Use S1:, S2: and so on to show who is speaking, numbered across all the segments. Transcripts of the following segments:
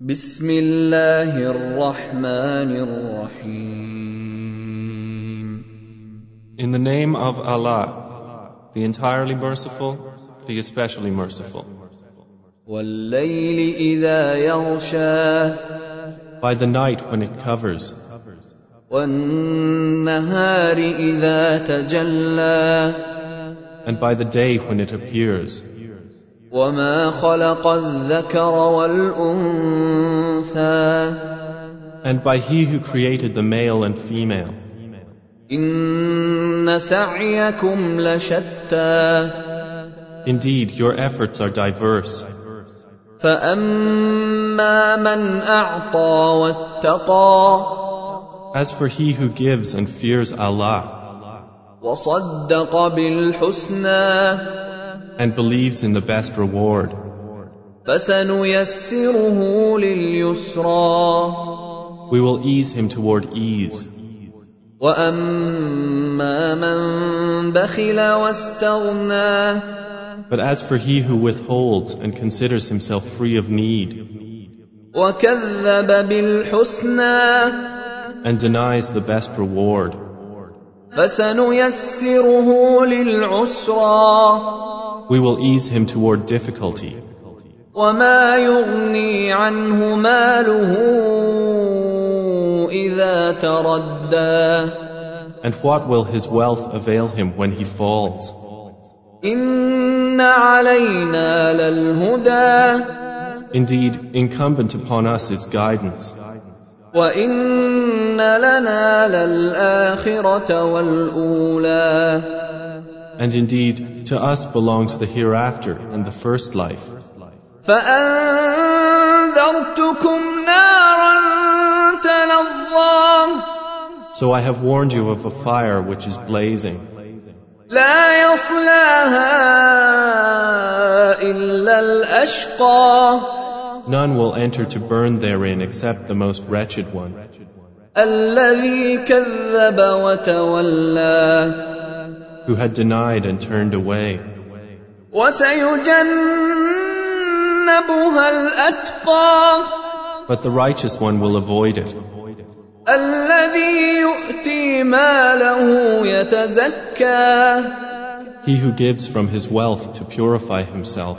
S1: بسم الله الرحمن الرحيم
S2: In the name of Allah, the entirely merciful, the especially merciful.
S1: والليل إذا يغشى
S2: By the night when it covers,
S1: والنهار إذا تجلى
S2: and by the day when it appears,
S1: وما خلق الذكر والأنثى
S2: and by He who created the male and female.
S1: إن سعيكم لشتى
S2: Indeed, your efforts are diverse.
S1: فأما من أعطى واتقى
S2: As for he who gives and fears Allah,
S1: وصدق بالحسنى
S2: and believes in the best reward,
S1: فسنيسره لليسرى
S2: we will ease him toward ease.
S1: واما من بخل واستغنى
S2: But as for he who withholds and considers himself free of need,
S1: وكذب بالحسنى
S2: and denies the best reward,
S1: فسنيسره للعسرى
S2: we will ease him toward difficulty.
S1: وما يغني عنه ماله اذا تردى
S2: And what will his wealth avail him when he falls?
S1: ان علينا للهدى
S2: Indeed, incumbent upon us is guidance,
S1: وان لنا للاخره والاولى
S2: and indeed, to us belongs the hereafter and the first life.
S1: فانذرتكم نارا تلظى
S2: So I have warned you of a fire which is blazing,
S1: لا يصلاها الا الاشقى
S2: None will enter to burn therein except the most wretched one,
S1: الذي كذب وتولى
S2: who had denied and turned away,
S1: وسيجنبها الاتقى
S2: but the righteous one will avoid it.
S1: الذي يؤتي ماله يتزكى
S2: He who gives from his wealth to purify himself,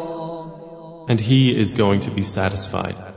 S2: And he is going to be satisfied.